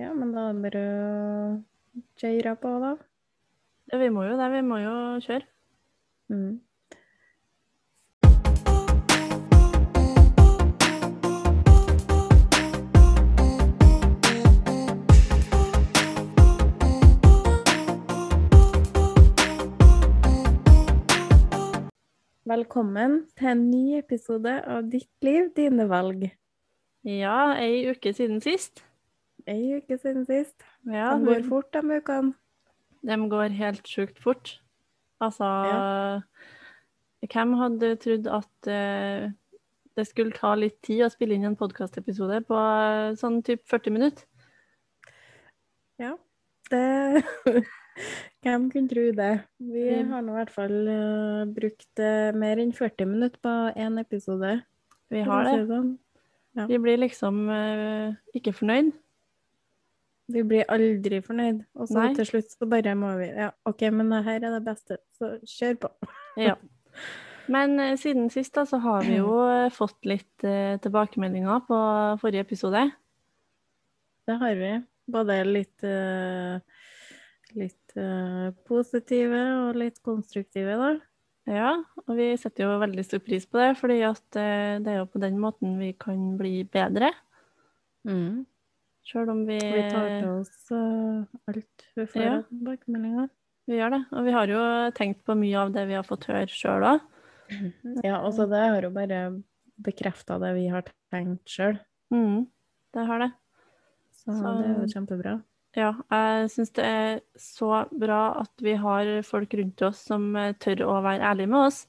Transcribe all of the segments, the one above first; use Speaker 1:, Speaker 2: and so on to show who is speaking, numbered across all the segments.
Speaker 1: Ja, men da er det bare å kjøre på, da.
Speaker 2: Ja, vi må jo det. Vi må jo kjøre.
Speaker 1: Mm. Velkommen til en ny episode av Ditt liv, dine valg.
Speaker 2: Ja, ei uke siden sist.
Speaker 1: Ei uke siden sist.
Speaker 2: Ja,
Speaker 1: De
Speaker 2: hvor
Speaker 1: går fort, de ukene.
Speaker 2: De går helt sjukt fort. Altså Hvem hadde trodd at eh, det skulle ta litt tid å spille inn en podkastepisode på eh, sånn typ 40 minutter?
Speaker 1: Det Hvem kunne tro det? Vi
Speaker 2: Mm.
Speaker 1: har nå i hvert fall eh, brukt eh, mer enn 40 minutter på én episode.
Speaker 2: Vi
Speaker 1: kan
Speaker 2: har
Speaker 1: man
Speaker 2: det.
Speaker 1: si sånn.
Speaker 2: Vi blir liksom eh, ikke fornøyd.
Speaker 1: Vi blir aldri fornøyd. Og så
Speaker 2: Nei.
Speaker 1: til slutt så bare må vi Ja, OK, men det her er det beste, så kjør på.
Speaker 2: Ja. Men eh, siden sist da, så har
Speaker 1: Mm.
Speaker 2: vi jo eh, fått litt eh, tilbakemeldinger på forrige episode.
Speaker 1: Det har vi. Både litt eh, litt eh, positive og litt konstruktive, da.
Speaker 2: Ja, og vi setter jo veldig stor pris på det, fordi at eh, det er jo på den måten vi kan bli bedre. Mm. Sjøl om vi,
Speaker 1: Vi tar til oss eh, alt vi får
Speaker 2: Ja.
Speaker 1: av tilbakemeldinger.
Speaker 2: vi gjør det. Og vi har jo tenkt på mye av det vi har fått høre sjøl òg.
Speaker 1: Ja, altså det har jo bare bekrefta det vi har tenkt sjøl,
Speaker 2: Mm, det har det.
Speaker 1: så,
Speaker 2: Så-
Speaker 1: det er jo kjempebra.
Speaker 2: Ja, jeg syns det er så bra at vi har folk rundt oss som eh, tør å være ærlige med oss.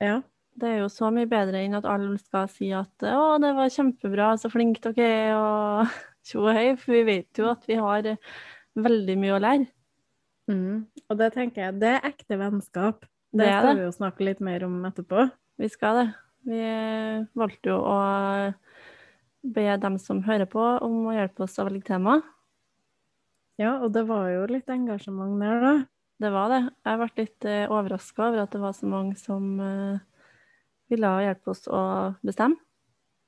Speaker 1: Ja.
Speaker 2: Det er jo så mye bedre enn at alle skal si at 'Å, det var kjempebra, så flink dere er', og tjo og hei. For vi vet jo at vi har eh, veldig mye å lære.
Speaker 1: Mm. Og det tenker jeg, det er ekte vennskap. Det,
Speaker 2: Det er
Speaker 1: skal
Speaker 2: det.
Speaker 1: vi jo snakke litt mer om etterpå.
Speaker 2: Vi skal det. Vi eh, valgte jo å eh, be dem som hører på, om å hjelpe oss å velge tema.
Speaker 1: Ja, og det var jo litt engasjement der, da.
Speaker 2: Det var det. Jeg ble litt overraska over at det var så mange som eh, ville hjelpe oss å bestemme.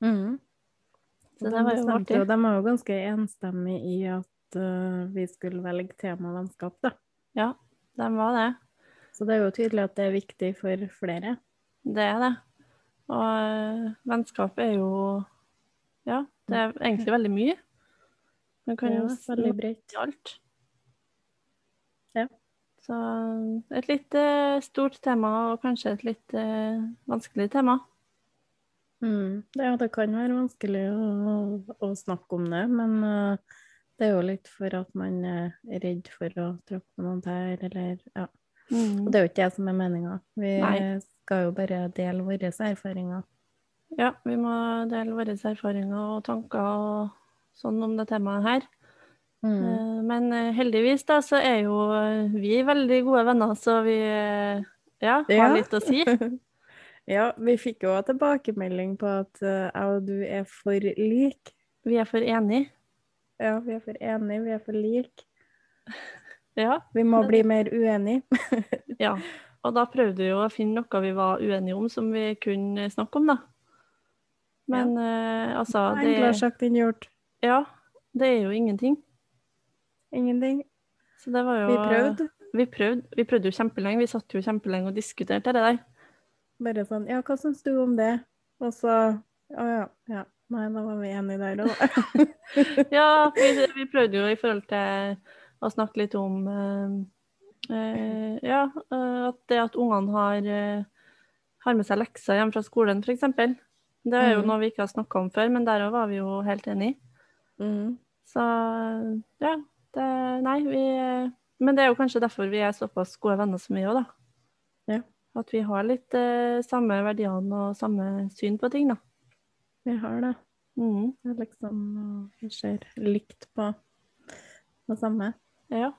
Speaker 2: Så
Speaker 1: Og
Speaker 2: Mm. det
Speaker 1: de
Speaker 2: var jo
Speaker 1: bestemte
Speaker 2: artig.
Speaker 1: jo- De var jo ganske enstemmige i at eh, vi skulle velge tema vennskap, da.
Speaker 2: De var det.
Speaker 1: Så det er jo tydelig at det er viktig for flere.
Speaker 2: Det er det. Og eh, vennskap er jo Ja, det er egentlig veldig mye. Man kan jo
Speaker 1: Ja, veldig bredt.
Speaker 2: til alt.
Speaker 1: Ja.
Speaker 2: Så et litt eh, stort tema, og kanskje et litt eh, vanskelig tema.
Speaker 1: Mm. Det, ja, det kan være vanskelig å, å snakke om det, men eh, det er jo litt for at man er redd for å tråkke på noen tær, eller ja. Og det er jo ikke det som er meninga. Vi
Speaker 2: Nei.
Speaker 1: skal jo bare dele våre erfaringer.
Speaker 2: Ja, vi må dele våre erfaringer og tanker og sånn om det temaet her.
Speaker 1: Mm.
Speaker 2: Eh, Men eh, heldigvis da, så er jo eh, vi veldig gode venner, så vi eh, ja, har
Speaker 1: Ja.
Speaker 2: litt å si.
Speaker 1: Ja, vi fikk jo tilbakemelding på at eh, jeg og du er for like.
Speaker 2: Vi er for enige.
Speaker 1: Ja, vi er for enige, vi er for like.
Speaker 2: Ja.
Speaker 1: Vi må
Speaker 2: Men-
Speaker 1: bli mer uenige.
Speaker 2: ja. Og da prøvde vi jo å finne noe vi var uenige om som vi kunne snakke om, da. Men eh, altså det,
Speaker 1: Enklere sagt enn gjort.
Speaker 2: Ja, det er jo ingenting.
Speaker 1: Ingenting.
Speaker 2: Så det var jo
Speaker 1: Vi prøvde.
Speaker 2: Vi prøvde, vi prøvde jo kjempelenge. Vi satt jo kjempelenge og diskuterte det der.
Speaker 1: Bare sånn Ja, hva syns du om det? Og så Å ja. ja. Nei, da var vi enige der òg.
Speaker 2: Ja, for vi, vi prøvde jo i forhold til å snakke litt om eh, eh, Ja, eh, at det at ungene har, eh, har med seg lekser hjem fra skolen, f.eks. Det er jo
Speaker 1: Mhm.
Speaker 2: noe vi ikke har snakka om før, men der òg var vi jo helt enige.
Speaker 1: Mm.
Speaker 2: Så ja. Det, nei, vi Men det er jo kanskje derfor vi er såpass gode venner som vi er òg, da.
Speaker 1: Ja.
Speaker 2: At vi har litt eh, samme verdiene og samme syn på ting, da.
Speaker 1: Vi har det.
Speaker 2: Mhm.
Speaker 1: Det er liksom Vi ser likt på det samme.
Speaker 2: Ja.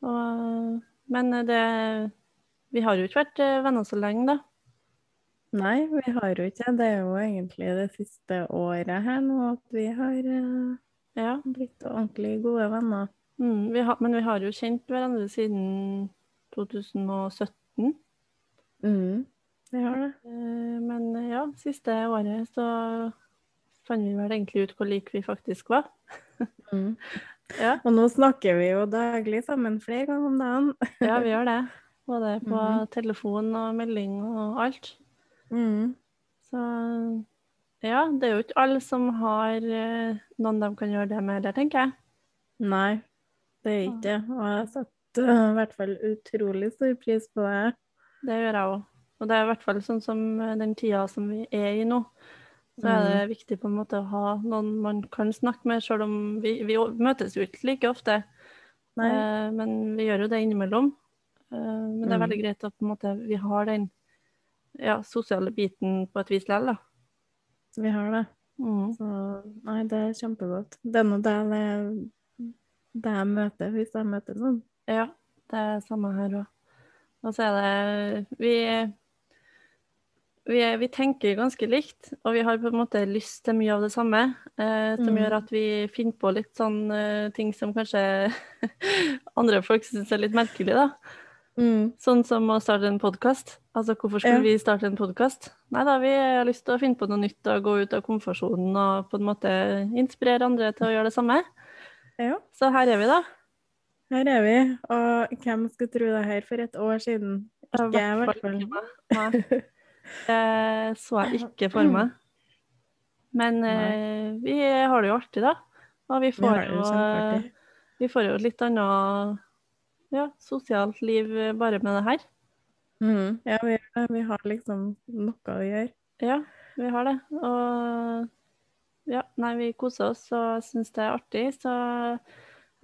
Speaker 2: Og, men det Vi har jo ikke vært eh, venner så lenge, da.
Speaker 1: Nei, vi har jo ikke det. Det er jo egentlig det siste året her nå at vi har eh,
Speaker 2: Ja.
Speaker 1: blitt ordentlig gode venner.
Speaker 2: Mm, vi har, men vi har jo kjent hverandre siden 2017.
Speaker 1: Mm. Vi har det.
Speaker 2: Eh, Men ja, siste året så fant vi vel egentlig ut hvor like vi faktisk var.
Speaker 1: Mm.
Speaker 2: Ja.
Speaker 1: Og nå snakker vi jo daglig sammen flere ganger om dagen.
Speaker 2: Ja, vi gjør det. Både på
Speaker 1: Mhm.
Speaker 2: telefon og melding og alt.
Speaker 1: Mm.
Speaker 2: Så ja, det er jo ikke alle som har eh, noen de kan gjøre det med heller, tenker jeg.
Speaker 1: Nei, det er ikke det. Og jeg setter eh, i hvert fall utrolig stor pris på det.
Speaker 2: Det gjør jeg òg. Og det er i hvert fall sånn som eh, den tida som vi er i nå, så er det
Speaker 1: Mhm.
Speaker 2: viktig på en måte å ha noen man kan snakke med, selv om vi, vi å- møtes jo ikke like ofte.
Speaker 1: Nei.
Speaker 2: Eh, men vi gjør jo det innimellom. Eh, men det er
Speaker 1: Mm.
Speaker 2: veldig greit at på en måte, vi har den ja, sosiale biten på et vis likevel, da.
Speaker 1: Vi har det.
Speaker 2: Mm.
Speaker 1: Så nei, det er kjempegodt. Det er nå det jeg- det jeg møter hvis jeg møter noen.
Speaker 2: Ja, det er samme her òg. Og så er det vi, vi, er- vi tenker ganske likt, og vi har på en måte lyst til mye av det samme. Eh, som
Speaker 1: Mm.
Speaker 2: gjør at vi finner på litt sånn eh, ting som kanskje andre folk syns er litt merkelig, da. Sånn som å starte en podkast. Altså, hvorfor
Speaker 1: Ja.
Speaker 2: skulle vi starte en podkast? Nei da, vi har lyst til å finne på noe nytt og gå ut av komfortsonen og på en måte inspirere andre til å gjøre det samme.
Speaker 1: Ja,
Speaker 2: Så her er vi, da.
Speaker 1: her er vi. Og hvem skulle tro det her for et år siden?
Speaker 2: Ja,
Speaker 1: Ikke jeg, i hvert fall.
Speaker 2: ikke meg. Nei. Det så jeg
Speaker 1: Mm.
Speaker 2: ikke for meg. Men eh, vi har det jo artig, da. Og
Speaker 1: Vi
Speaker 2: vi får,
Speaker 1: har det jo
Speaker 2: jo,
Speaker 1: kjempeartig.
Speaker 2: vi får jo et litt annet ja, sosialt liv eh, bare med det her.
Speaker 1: Mm. Ja, vi, gjør det. vi har liksom noe å gjøre.
Speaker 2: Ja, vi har det. Og ja, nei, vi koser oss og syns det er artig, så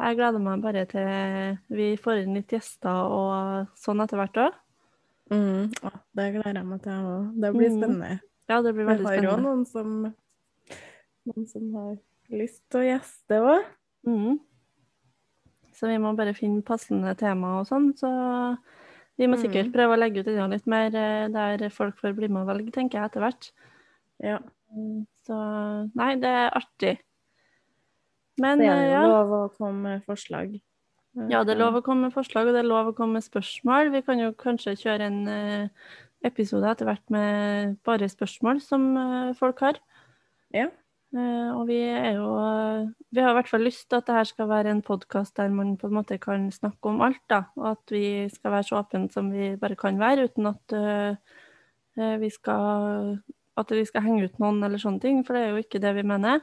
Speaker 2: jeg gleder meg bare til vi får inn litt gjester og sånn etter hvert òg.
Speaker 1: Mm. Å, det gleder jeg meg til, jeg òg. Det blir
Speaker 2: Mm.
Speaker 1: spennende.
Speaker 2: Ja, det blir
Speaker 1: Vi
Speaker 2: veldig
Speaker 1: har jo
Speaker 2: spennende.
Speaker 1: noen som, noen som har lyst til å gjeste òg.
Speaker 2: Mm. Så vi må bare finne passende tema og sånn. Så vi må sikkert
Speaker 1: Mm.
Speaker 2: prøve å legge ut enda litt mer eh, der folk får bli med og velge, tenker jeg etter hvert.
Speaker 1: Ja.
Speaker 2: Mm, Så nei, det er artig. Men
Speaker 1: Det er
Speaker 2: eh,
Speaker 1: jo
Speaker 2: ja,
Speaker 1: lov å komme med forslag.
Speaker 2: ja, det er lov å komme med forslag, og det er lov å komme med spørsmål. Vi kan jo kanskje kjøre en eh, episode etter hvert med bare spørsmål som eh, folk har.
Speaker 1: Ja.
Speaker 2: Eh, og vi er jo eh, Vi har i hvert fall lyst til at det her skal være en podkast der man på en måte kan snakke om alt, da. Og at vi skal være så åpne som vi bare kan være, uten at eh, eh, vi skal At vi skal henge ut noen eller sånne ting, for det er jo ikke det vi mener.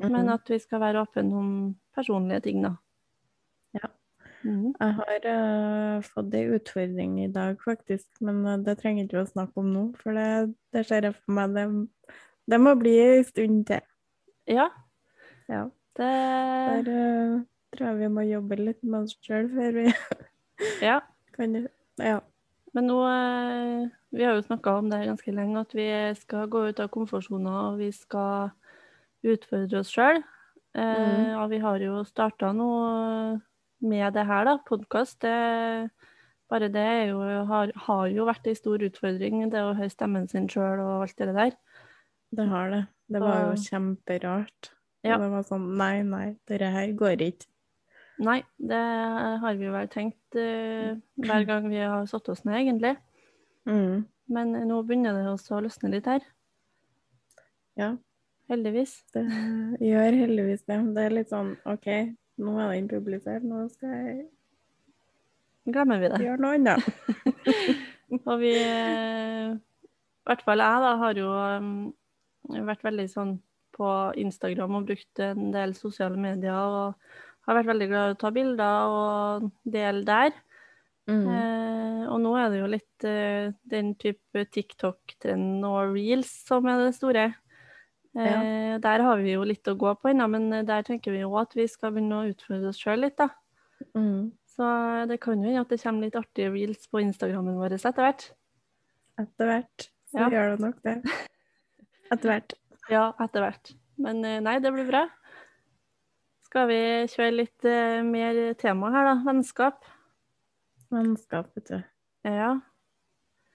Speaker 1: eh,
Speaker 2: Men at vi skal være åpne om personlige ting, da.
Speaker 1: Ja.
Speaker 2: Mhm.
Speaker 1: Jeg har eh, fått ei utfordring i dag, faktisk, men eh, det trenger ikke vi å snakke om nå. For det, det ser jeg for meg det, det må bli ei stund til.
Speaker 2: Ja,
Speaker 1: Ja.
Speaker 2: det
Speaker 1: Der eh, tror jeg vi må jobbe litt med oss sjøl før vi
Speaker 2: Ja.
Speaker 1: kan Ja.
Speaker 2: Men nå eh, Vi har jo snakka om det her ganske lenge, at vi skal gå ut av komfortsona og vi skal utfordre oss sjøl. Eh, Og vi har jo starta nå med det her, da. Podkast. Bare det er jo, har, har jo vært ei stor utfordring, det å høre stemmen sin sjøl og alt det der.
Speaker 1: Det har det. Det var jo
Speaker 2: Så-
Speaker 1: kjemperart.
Speaker 2: Ja.
Speaker 1: Og Det var sånn Nei, nei, dette her går ikke.
Speaker 2: Nei, det har vi jo vel tenkt eh, hver gang vi har satt oss ned, egentlig.
Speaker 1: Mm.
Speaker 2: Men nå begynner det også å løsne litt her.
Speaker 1: Ja.
Speaker 2: Heldigvis.
Speaker 1: Det gjør heldigvis det. Det er litt sånn OK, nå er den publisert, nå skal jeg
Speaker 2: Glemmer vi det.
Speaker 1: gjøre noe annet.
Speaker 2: Og vi, eh, i hvert fall jeg da, har jo eh, vært veldig sånn på Instagram og brukt en del sosiale medier, og har vært veldig glad i å ta bilder og dele der.
Speaker 1: Mm.
Speaker 2: Eh, og nå er det jo litt eh, den type TikTok-trenden og reels som er det store. Eh, Der har vi jo litt å gå på ennå, men eh, der tenker vi jo at vi skal begynne å utfordre oss sjøl litt, da.
Speaker 1: Mm.
Speaker 2: Så eh, det kan jo hende at det kommer litt artige reels på Instagrammen vår etter hvert.
Speaker 1: Etter hvert så
Speaker 2: Ja.
Speaker 1: gjør det nok det. Etter hvert.
Speaker 2: Ja, etter hvert. Men eh, nei, det blir bra. Skal vi kjøre litt eh, mer tema her, da? Vennskap.
Speaker 1: Vennskap, vet du.
Speaker 2: Ja.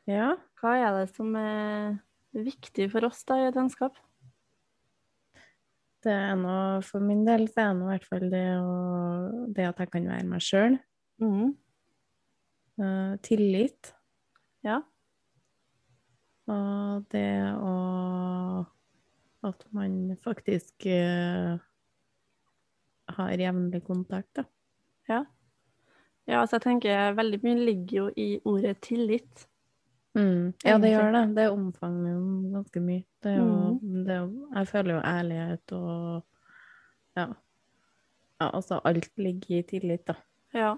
Speaker 1: Ja.
Speaker 2: Hva er det som er viktig for oss da i et vennskap?
Speaker 1: Det er noe, for min del så er det nå i hvert fall det, å, det at jeg kan være meg sjøl.
Speaker 2: Mhm.
Speaker 1: Eh, tillit.
Speaker 2: Ja.
Speaker 1: Og det å At man faktisk eh, har jevnlig kontakt, da.
Speaker 2: Ja, altså jeg tenker veldig mye ligger jo i ordet tillit.
Speaker 1: Mm. Ja, det
Speaker 2: Egentlig.
Speaker 1: gjør det. Det omfanger jo ganske mye. Det er jo,
Speaker 2: Mm.
Speaker 1: det er jo, jeg føler jo ærlighet og ja. ja. Altså, alt ligger i tillit, da.
Speaker 2: Ja.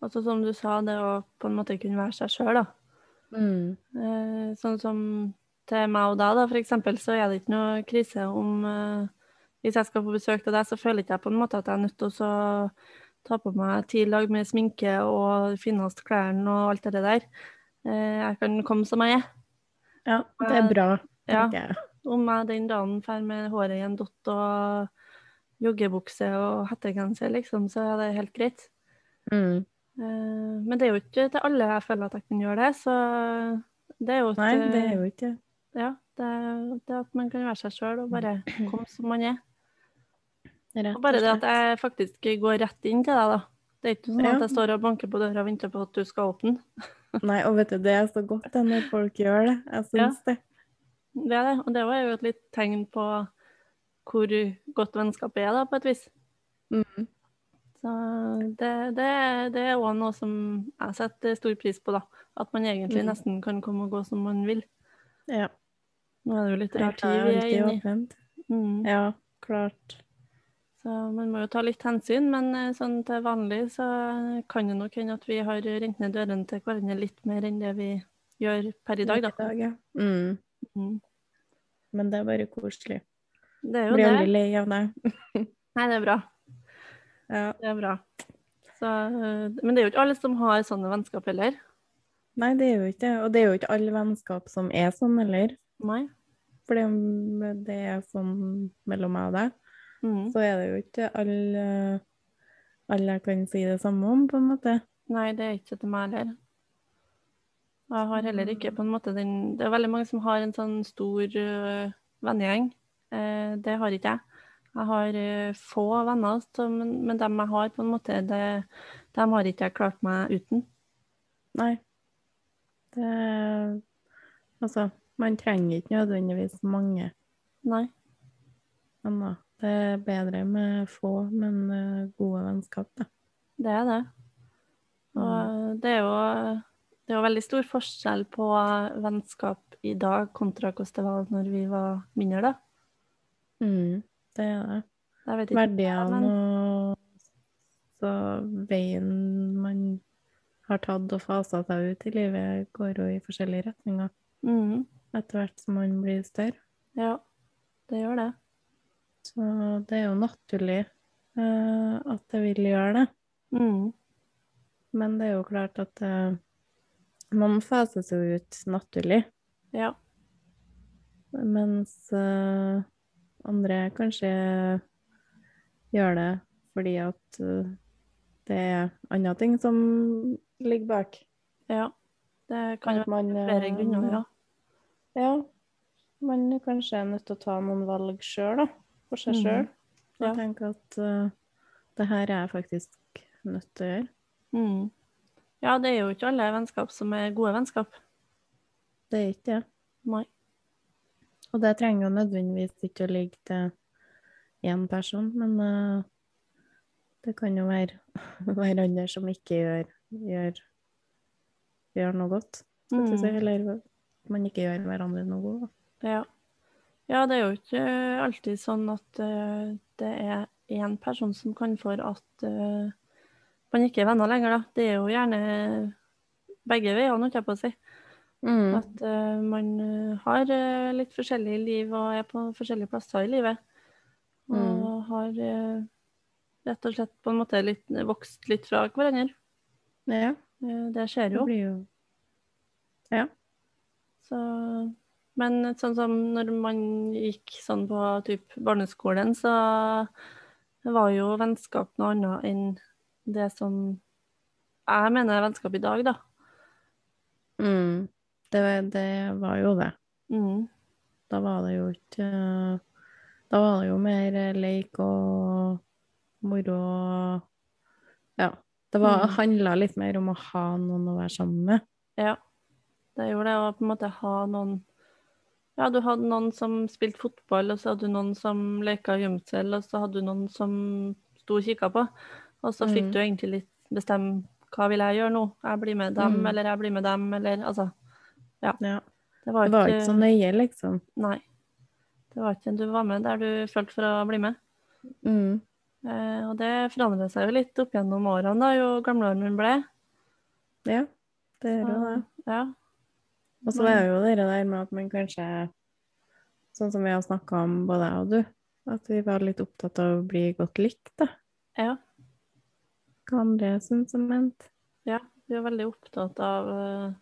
Speaker 2: Altså som du sa, det å på en måte kunne være seg sjøl, da. Eh, sånn som til meg og deg, da, for eksempel, så er det ikke noe krise om eh, Hvis jeg skal på besøk til deg, så føler ikke jeg på en måte at jeg er nødt til å så ta på meg ti lag med sminke og de fineste klærne og alt det der. Eh, jeg kan komme som jeg er.
Speaker 1: Ja, det er bra,
Speaker 2: Ja.
Speaker 1: tenker jeg.
Speaker 2: Om jeg den dagen drar med håret i en dott og joggebukse og hettegenser, liksom, så er det helt greit.
Speaker 1: Mm.
Speaker 2: Eh, Men det er jo ikke til alle jeg føler at jeg kan gjøre det, så det er jo et
Speaker 1: Nei, det
Speaker 2: eh,
Speaker 1: er jo ikke det.
Speaker 2: Ja, det, det at man kan være seg sjøl og bare komme som man er.
Speaker 1: Rett
Speaker 2: Og bare det
Speaker 1: slett.
Speaker 2: at jeg faktisk går rett inn til deg, da. Det er ikke sånn at
Speaker 1: Ja.
Speaker 2: jeg står og banker på døra og venter på at du skal åpne.
Speaker 1: Nei, og vet du, det er så godt det når folk gjør det. Jeg
Speaker 2: Ja.
Speaker 1: syns det.
Speaker 2: Det er det. Og det var jo et litt tegn på hvor godt vennskapet er, da, på et vis.
Speaker 1: Mm.
Speaker 2: Så det, det, det er òg noe som jeg setter stor pris på, da. At man egentlig
Speaker 1: Mm.
Speaker 2: nesten kan komme og gå som man vil.
Speaker 1: Ja.
Speaker 2: Nå er det jo litt rar
Speaker 1: Dørtid
Speaker 2: tid vi er
Speaker 1: alltid
Speaker 2: inne i.
Speaker 1: åpent.
Speaker 2: Mm.
Speaker 1: Ja, klart.
Speaker 2: Så man må jo ta litt hensyn, men eh, sånn til vanlig så kan det nok hende at vi har rent ned dørene til hverandre litt mer enn det vi gjør per i dag, da.
Speaker 1: ja. Mm.
Speaker 2: Mm.
Speaker 1: Men det er bare koselig.
Speaker 2: Det er jo
Speaker 1: Blir
Speaker 2: det.
Speaker 1: aldri lei av det.
Speaker 2: Nei, det er bra.
Speaker 1: Ja.
Speaker 2: Det er bra. Så, eh, men det er jo ikke alle som har sånne vennskap heller.
Speaker 1: Nei, det er jo ikke det. Og det er jo ikke alle vennskap som er sånn heller.
Speaker 2: Nei.
Speaker 1: For det om det er sånn mellom meg og deg,
Speaker 2: Mm.
Speaker 1: så er det jo ikke alle alle jeg kan si det samme om, på en måte.
Speaker 2: Nei, det er ikke til meg heller. Og Jeg har heller ikke på en måte den Det er veldig mange som har en sånn stor øh, vennegjeng. Eh, det har ikke jeg. Jeg har øh, få venner, så, men, men dem jeg har, på en måte, det, dem har ikke jeg klart meg uten.
Speaker 1: Nei. Det Altså, man trenger ikke nødvendigvis mange
Speaker 2: Nei.
Speaker 1: venner. Det er bedre med få, men eh, gode vennskap, da.
Speaker 2: Det er det. Og det er jo det er jo veldig stor forskjell på vennskap i dag kontra hvordan det var når vi var mindre, da.
Speaker 1: Mm, det er det.
Speaker 2: Jeg vet ikke.
Speaker 1: Verdiene
Speaker 2: men-
Speaker 1: og så veien man har tatt og fasa seg ut i livet, går jo i forskjellige retninger
Speaker 2: Mm,
Speaker 1: etter hvert som man blir større.
Speaker 2: ja, det gjør det.
Speaker 1: Så det er jo naturlig eh, at det vil gjøre det.
Speaker 2: Mm.
Speaker 1: Men det er jo klart at eh, man fases jo ut naturlig,
Speaker 2: Ja.
Speaker 1: mens eh, andre kanskje gjør det fordi at eh, det er andre ting som ligger bak.
Speaker 2: ja. Det kan jo
Speaker 1: At man,
Speaker 2: være flere
Speaker 1: eh,
Speaker 2: grunner, ja.
Speaker 1: Ja. Man kanskje er nødt til å ta noen valg sjøl, da. For seg
Speaker 2: Mhm.
Speaker 1: sjøl.
Speaker 2: Ja.
Speaker 1: Og tenke at eh, det her er jeg faktisk nødt til å gjøre.
Speaker 2: Mm. Ja, det er jo ikke alle vennskap som er gode vennskap.
Speaker 1: Det er ikke det.
Speaker 2: Nei.
Speaker 1: Og det trenger jo nødvendigvis ikke å ligge til én person, men eh, det kan jo være hverandre som ikke gjør, gjør, gjør noe godt. skal jeg si,
Speaker 2: Mm.
Speaker 1: Eller at man ikke gjør hverandre noe godt. da.
Speaker 2: Ja. ja, det er jo ikke alltid sånn at eh, det er én person som kan for at eh, man ikke er venner lenger, da. Det er jo gjerne begge veier, holdt jeg på å si.
Speaker 1: At-
Speaker 2: At eh, man eh, har eh, litt forskjellige liv og er på forskjellige plasser i livet. Og
Speaker 1: Mm.
Speaker 2: har eh, rett og slett på en måte litt, vokst litt fra hverandre.
Speaker 1: Ja,
Speaker 2: Eh, det skjer
Speaker 1: det
Speaker 2: jo.
Speaker 1: blir jo
Speaker 2: Så, men sånn som når man gikk sånn på typ barneskolen, så var jo vennskap noe annet enn det som jeg mener er vennskap i dag, da.
Speaker 1: mm. det, var- det var jo det.
Speaker 2: Mm.
Speaker 1: Da var det jo ikke eh, Da var det jo mer eh, leik og moro og Ja. Det var,
Speaker 2: Mm.
Speaker 1: handla litt mer om å ha noen å være sammen med.
Speaker 2: Ja. Det gjorde det å på en måte ha noen Ja, du hadde noen som spilte fotball, og så hadde du noen som leka gjemsel, og så hadde du noen som sto og kikka på. Og så fikk
Speaker 1: Mm.
Speaker 2: du egentlig litt bestemme hva vil jeg gjøre nå? Jeg blir med dem,
Speaker 1: Mm.
Speaker 2: eller jeg blir med dem, eller altså
Speaker 1: Ja.
Speaker 2: Det var
Speaker 1: Det var ikke så nøye, liksom.
Speaker 2: Nei. Det var ikke Du var med der du følte for å bli med.
Speaker 1: Mm.
Speaker 2: Eh, og det forandret seg jo litt opp gjennom årene, da, jo gamlere man ble. Eh,
Speaker 1: Ja, det gjør jo det.
Speaker 2: Ja.
Speaker 1: Og så er jo det der med at man kanskje, sånn som vi har snakka om både jeg og du, at vi var litt opptatt av å bli godt likt, da.
Speaker 2: Ja.
Speaker 1: Hva andre syns om ment.
Speaker 2: ja. Vi var veldig opptatt av eh,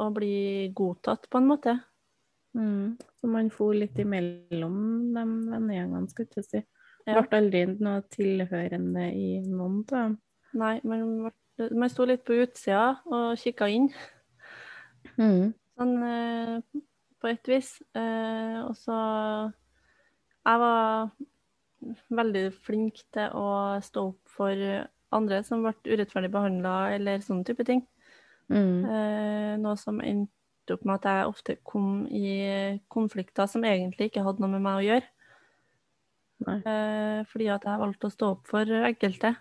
Speaker 2: å bli godtatt, på en måte.
Speaker 1: Mm. Så man for litt imellom de vennegjengene, skulle jeg til å si.
Speaker 2: Ja.
Speaker 1: Ble aldri noe tilhørende i noen av dem.
Speaker 2: Nei, man, ble- man sto litt på utsida og kikka inn,
Speaker 1: Mm.
Speaker 2: sånn eh, på et vis. Eh, og så Jeg var veldig flink til å stå opp for andre som ble urettferdig behandla, eller sånne type ting.
Speaker 1: Mm.
Speaker 2: Eh, noe som endte opp med at jeg ofte kom i konflikter som egentlig ikke hadde noe med meg å gjøre.
Speaker 1: Nei.
Speaker 2: Eh, fordi at jeg valgte å stå opp for enkelte.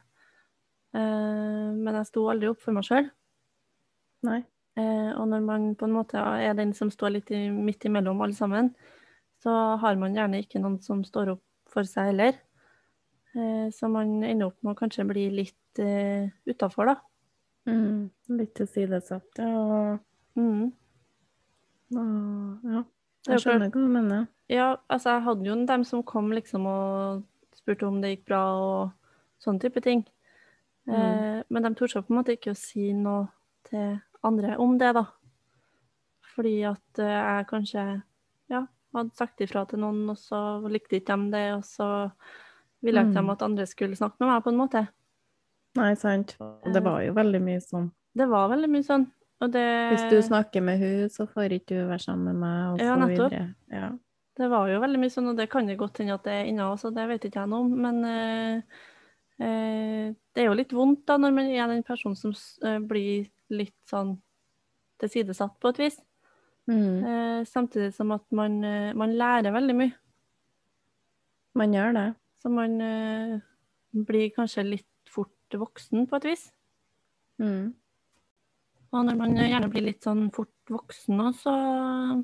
Speaker 2: Eh, men jeg sto aldri opp for meg sjøl.
Speaker 1: Nei.
Speaker 2: Eh, og når man på en måte er den som står litt i, midt imellom alle sammen, så har man gjerne ikke noen som står opp for seg heller. Eh, så man ender opp med å kanskje bli litt eh, utafor, da.
Speaker 1: Mm. Litt tilsidesatt, ja. Og,
Speaker 2: Mm.
Speaker 1: og ja.
Speaker 2: Det er
Speaker 1: Jeg
Speaker 2: jo klart-
Speaker 1: skjønner hva du mener.
Speaker 2: Ja, altså jeg hadde jo dem som kom liksom og spurte om det gikk bra og sånne type ting.
Speaker 1: Mm.
Speaker 2: Eh, men de torde seg på en måte ikke å si noe til andre om det, da. Fordi at eh, jeg kanskje ja, hadde sagt ifra til noen, og så likte ikke dem det, og så ville ikke
Speaker 1: Mm.
Speaker 2: dem at andre skulle snakke med meg, på en måte.
Speaker 1: Nei, sant. Og det var jo veldig mye sånn. Eh.
Speaker 2: Det var veldig mye sånn. Og det,
Speaker 1: Hvis du snakker med hun, så får ikke du være sammen med meg, og
Speaker 2: Ja,
Speaker 1: så
Speaker 2: nettopp.
Speaker 1: videre. Ja,
Speaker 2: Det var jo veldig mye sånn, og det kan jo godt hende at det er inna også, det vet ikke jeg noe om. Men eh, eh, det er jo litt vondt da, når man er den personen som s- eh, blir litt sånn tilsidesatt på et vis.
Speaker 1: mm.
Speaker 2: Eh, samtidig som at man, eh, man lærer veldig mye.
Speaker 1: Man gjør det.
Speaker 2: Så man eh, blir kanskje litt fort voksen på et vis.
Speaker 1: Mm.
Speaker 2: Og når man gjerne blir litt sånn fort voksen òg, så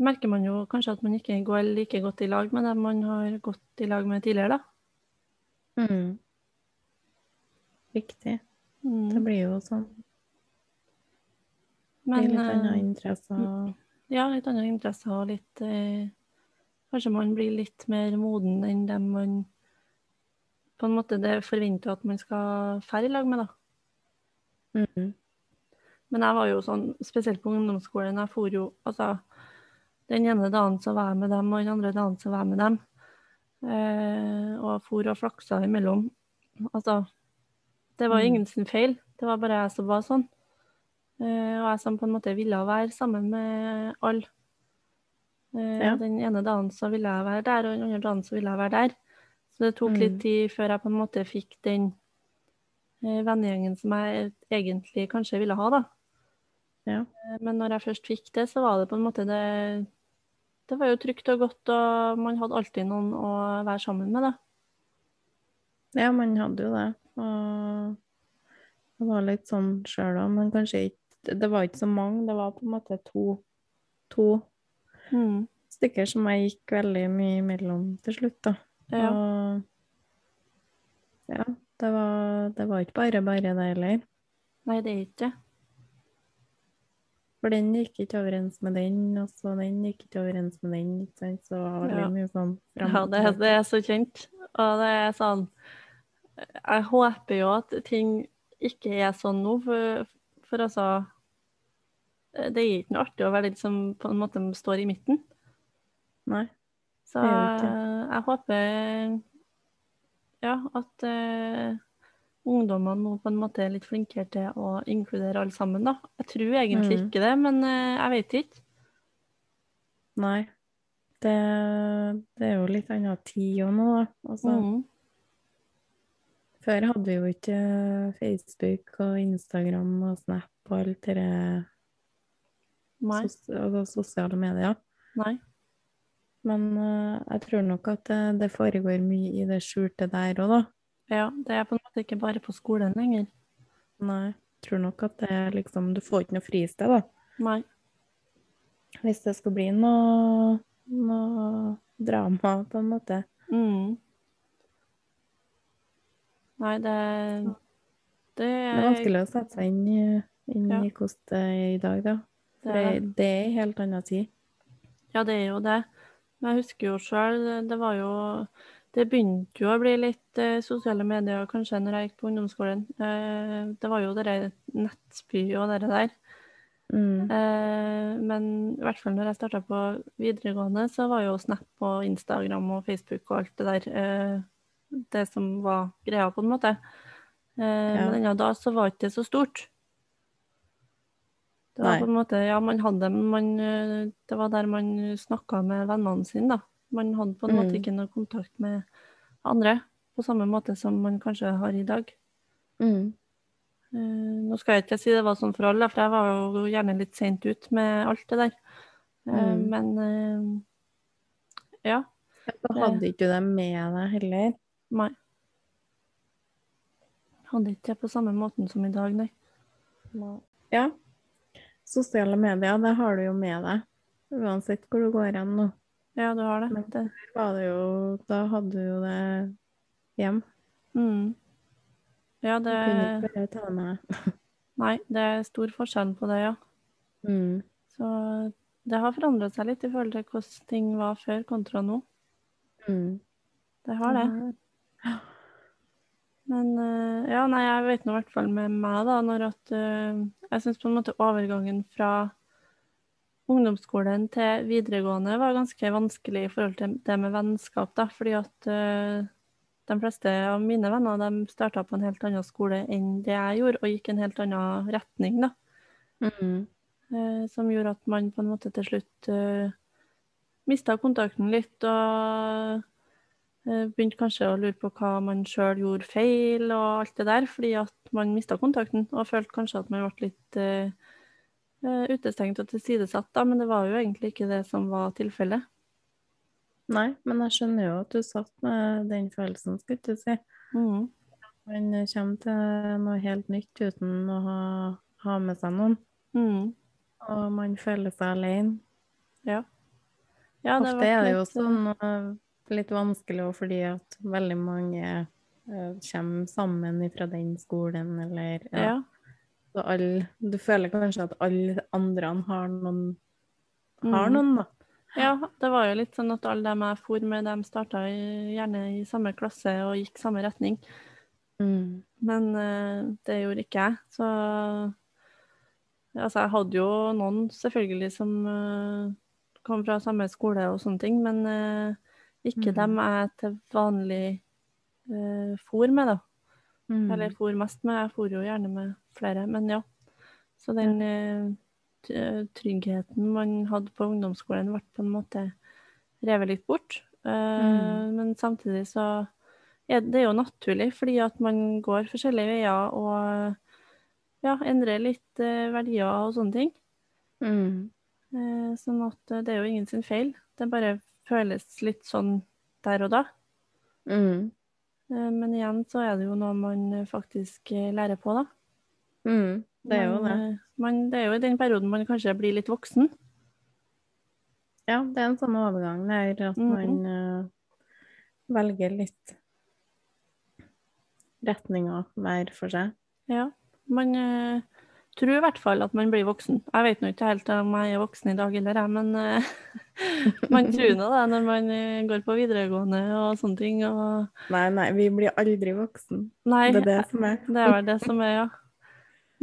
Speaker 2: merker man jo kanskje at man ikke går like godt i lag med dem man har gått i lag med tidligere, da.
Speaker 1: Mm. Riktig.
Speaker 2: Mm.
Speaker 1: Det blir jo sånn. Det
Speaker 2: Men,
Speaker 1: blir litt andre
Speaker 2: eh,
Speaker 1: interesser. og-
Speaker 2: Ja, litt andre interesser og litt eh, Kanskje man blir litt mer moden enn dem man på en måte det forventer at man skal fære i lag med, da.
Speaker 1: Mm.
Speaker 2: Men jeg var jo sånn, spesielt på ungdomsskolen, jeg for jo Altså, den ene dagen så var jeg med dem, og den andre dagen så var jeg med dem. Eh, og jeg for og flaksa imellom. Altså, det var
Speaker 1: Mm.
Speaker 2: ingen sin feil, det var bare jeg som var sånn. Eh, og jeg som på en måte ville være sammen med alle. Eh,
Speaker 1: Ja.
Speaker 2: Den ene dagen så ville jeg være der, og den andre dagen så ville jeg være der. Så det tok
Speaker 1: Mm.
Speaker 2: litt tid før jeg på en måte fikk den eh, vennegjengen som jeg egentlig kanskje ville ha, da.
Speaker 1: Ja.
Speaker 2: Eh, Men når jeg først fikk det, så var det på en måte det Det var jo trygt og godt, og man hadde alltid noen å være sammen med, da.
Speaker 1: ja, man hadde jo det. Og det var litt sånn sjøl òg, men kanskje ikke Det var ikke så mange, det var på en måte to, to
Speaker 2: Mm.
Speaker 1: stykker som jeg gikk veldig mye imellom til slutt, da.
Speaker 2: Ja.
Speaker 1: Og ja, det var, det var ikke bare bare det heller.
Speaker 2: Nei, det er ikke det.
Speaker 1: For den gikk ikke overens med den, og så den gikk ikke overens med den. Ikke sant? Så det var veldig
Speaker 2: Ja.
Speaker 1: mye sånn fram
Speaker 2: Ja,
Speaker 1: og
Speaker 2: det, er- det er så kjent. Og det er sånn Jeg håper jo at ting ikke er sånn nå, for, for altså Det er ikke noe artig å være den som på en måte står i midten.
Speaker 1: Nei.
Speaker 2: Så
Speaker 1: Det gjør det
Speaker 2: eh, jeg håper ja, at eh, ungdommene nå på en måte er litt flinkere til å inkludere alle sammen, da. Jeg tror egentlig
Speaker 1: Mm.
Speaker 2: ikke det, men eh, jeg vet ikke.
Speaker 1: Nei. Det, det er jo litt anna tid òg nå, da. Altså,
Speaker 2: Mm.
Speaker 1: Før hadde vi jo ikke Facebook og Instagram og Snap og alt det der
Speaker 2: Nei.
Speaker 1: sos altså sosiale medier.
Speaker 2: Nei.
Speaker 1: Men eh, jeg tror nok at det, det foregår mye i det skjulte der òg, da.
Speaker 2: Ja, det er på en måte ikke bare på skolen lenger.
Speaker 1: Nei, eh, jeg tror nok at det er liksom Du får ikke noe fristed, da.
Speaker 2: Nei.
Speaker 1: Hvis det skal bli noe, noe drama, på en måte.
Speaker 2: Mm. Nei, det Det
Speaker 1: Det er vanskelig å sette seg inn, i- inn
Speaker 2: Ja.
Speaker 1: i hvordan det er i dag, da. For
Speaker 2: det-
Speaker 1: det, det er en helt annen tid.
Speaker 2: Ja, det er jo det. Men jeg husker jo sjøl, det var jo Det begynte jo å bli litt eh, sosiale medier kanskje når jeg gikk på ungdomsskolen. Eh, det var jo det der nettspy og det der.
Speaker 1: Mm.
Speaker 2: Eh, men i hvert fall når jeg starta på videregående, så var jo Snap og Instagram og Facebook og alt det der eh, det som var greia, på en måte. Eh, Men ennå da så var ikke det så stort. Det var
Speaker 1: Nei.
Speaker 2: på en måte, ja, man hadde, men man, eh, det var der man snakka med vennene sine, da. Man hadde på en måte
Speaker 1: Mm.
Speaker 2: ikke noe kontakt med andre, på samme måte som man kanskje har i dag.
Speaker 1: Mm.
Speaker 2: Eh, nå skal jeg ikke si det var sånn for alle, for jeg var jo gjerne litt sent ut med alt det der. Eh,
Speaker 1: Mm.
Speaker 2: Men eh, ja.
Speaker 1: Da hadde ikke du det med deg heller.
Speaker 2: Nei. Hadde ikke det på samme måten som i dag, nei.
Speaker 1: Ja. Sosiale medier, det har du jo med deg. Uansett hvor du går hen nå.
Speaker 2: Ja, du har det.
Speaker 1: Men-
Speaker 2: det.
Speaker 1: Der var det jo, da hadde du jo det hjem.
Speaker 2: Mm. Ja,
Speaker 1: Du
Speaker 2: det
Speaker 1: kunne ikke bare ta det med deg.
Speaker 2: Nei, det er stor forskjell på det, ja.
Speaker 1: Mm.
Speaker 2: Så det har forandra seg litt i forhold til hvordan ting var før kontra nå.
Speaker 1: Mm.
Speaker 2: Det har det. Men eh, ja, nei, jeg vet nå i hvert fall med meg, da, når at eh, Jeg syns på en måte overgangen fra ungdomsskolen til videregående var ganske vanskelig i forhold til det med vennskap, da, fordi at eh, de fleste av mine venner de starta på en helt annen skole enn det jeg gjorde, og gikk i en helt annen retning, da.
Speaker 1: Mm.
Speaker 2: eh, som gjorde at man på en måte til slutt uh, mista kontakten litt og eh, begynte kanskje å lure på hva man sjøl gjorde feil og alt det der, fordi at man mista kontakten og følte kanskje at man ble litt eh, eh, utestengt og tilsidesatt, da, men det var jo egentlig ikke det som var tilfellet.
Speaker 1: Nei, men jeg skjønner jo at du satt med den følelsen, skulle jeg til å si.
Speaker 2: Mhm.
Speaker 1: Man kommer til noe helt nytt uten å ha, ha med seg noen.
Speaker 2: Mhm.
Speaker 1: Og man føler seg alene.
Speaker 2: Ja, det
Speaker 1: Ofte
Speaker 2: ble
Speaker 1: er det jo
Speaker 2: litt, eh,
Speaker 1: sånn eh, litt vanskelig også fordi at veldig mange eh, kommer sammen fra den skolen, eller ja.
Speaker 2: Ja.
Speaker 1: Så alle, du føler kanskje at alle andre har noen, har
Speaker 2: Mhm.
Speaker 1: noen da.
Speaker 2: Ja, det var jo litt sånn at alle dem jeg for med, dem starta gjerne i samme klasse og gikk samme retning.
Speaker 1: Mm.
Speaker 2: Men eh, det gjorde ikke jeg. Så altså, jeg hadde jo noen selvfølgelig som eh, kom fra samme skole og sånne ting, men eh, ikke
Speaker 1: Mhm.
Speaker 2: dem jeg til vanlig eh, for med, da.
Speaker 1: Mm.
Speaker 2: Eller for mest med. Jeg for jo gjerne med flere, men ja. Så den eh, t- eh, tryggheten man hadde på ungdomsskolen, ble på en måte revet litt bort. Eh,
Speaker 1: Mm.
Speaker 2: Men samtidig så er det er jo naturlig, fordi at man går forskjellige veier og ja, endrer litt eh, verdier og sånne ting.
Speaker 1: Mm.
Speaker 2: Eh, Sånn at eh, det er jo ingen sin feil. Det bare føles litt sånn der og da.
Speaker 1: Mm.
Speaker 2: Eh, Men igjen så er det jo noe man eh, faktisk eh, lærer på, da.
Speaker 1: Mm. Det er jo
Speaker 2: Man,
Speaker 1: det.
Speaker 2: eh, Man, det er jo i den perioden man kanskje blir litt voksen.
Speaker 1: Ja, det er en sånn overgang der at
Speaker 2: Mhm.
Speaker 1: man eh, velger litt retninger hver for seg.
Speaker 2: Ja. Man eh, tror i hvert fall at man blir voksen. Jeg vet nå ikke helt om jeg er voksen i dag heller, jeg, men eh, man tror nå det når man eh, går på videregående og sånne ting. Og...
Speaker 1: Nei, nei, vi blir aldri voksen.
Speaker 2: Nei,
Speaker 1: Det er det som er.
Speaker 2: det er vel det som er, ja.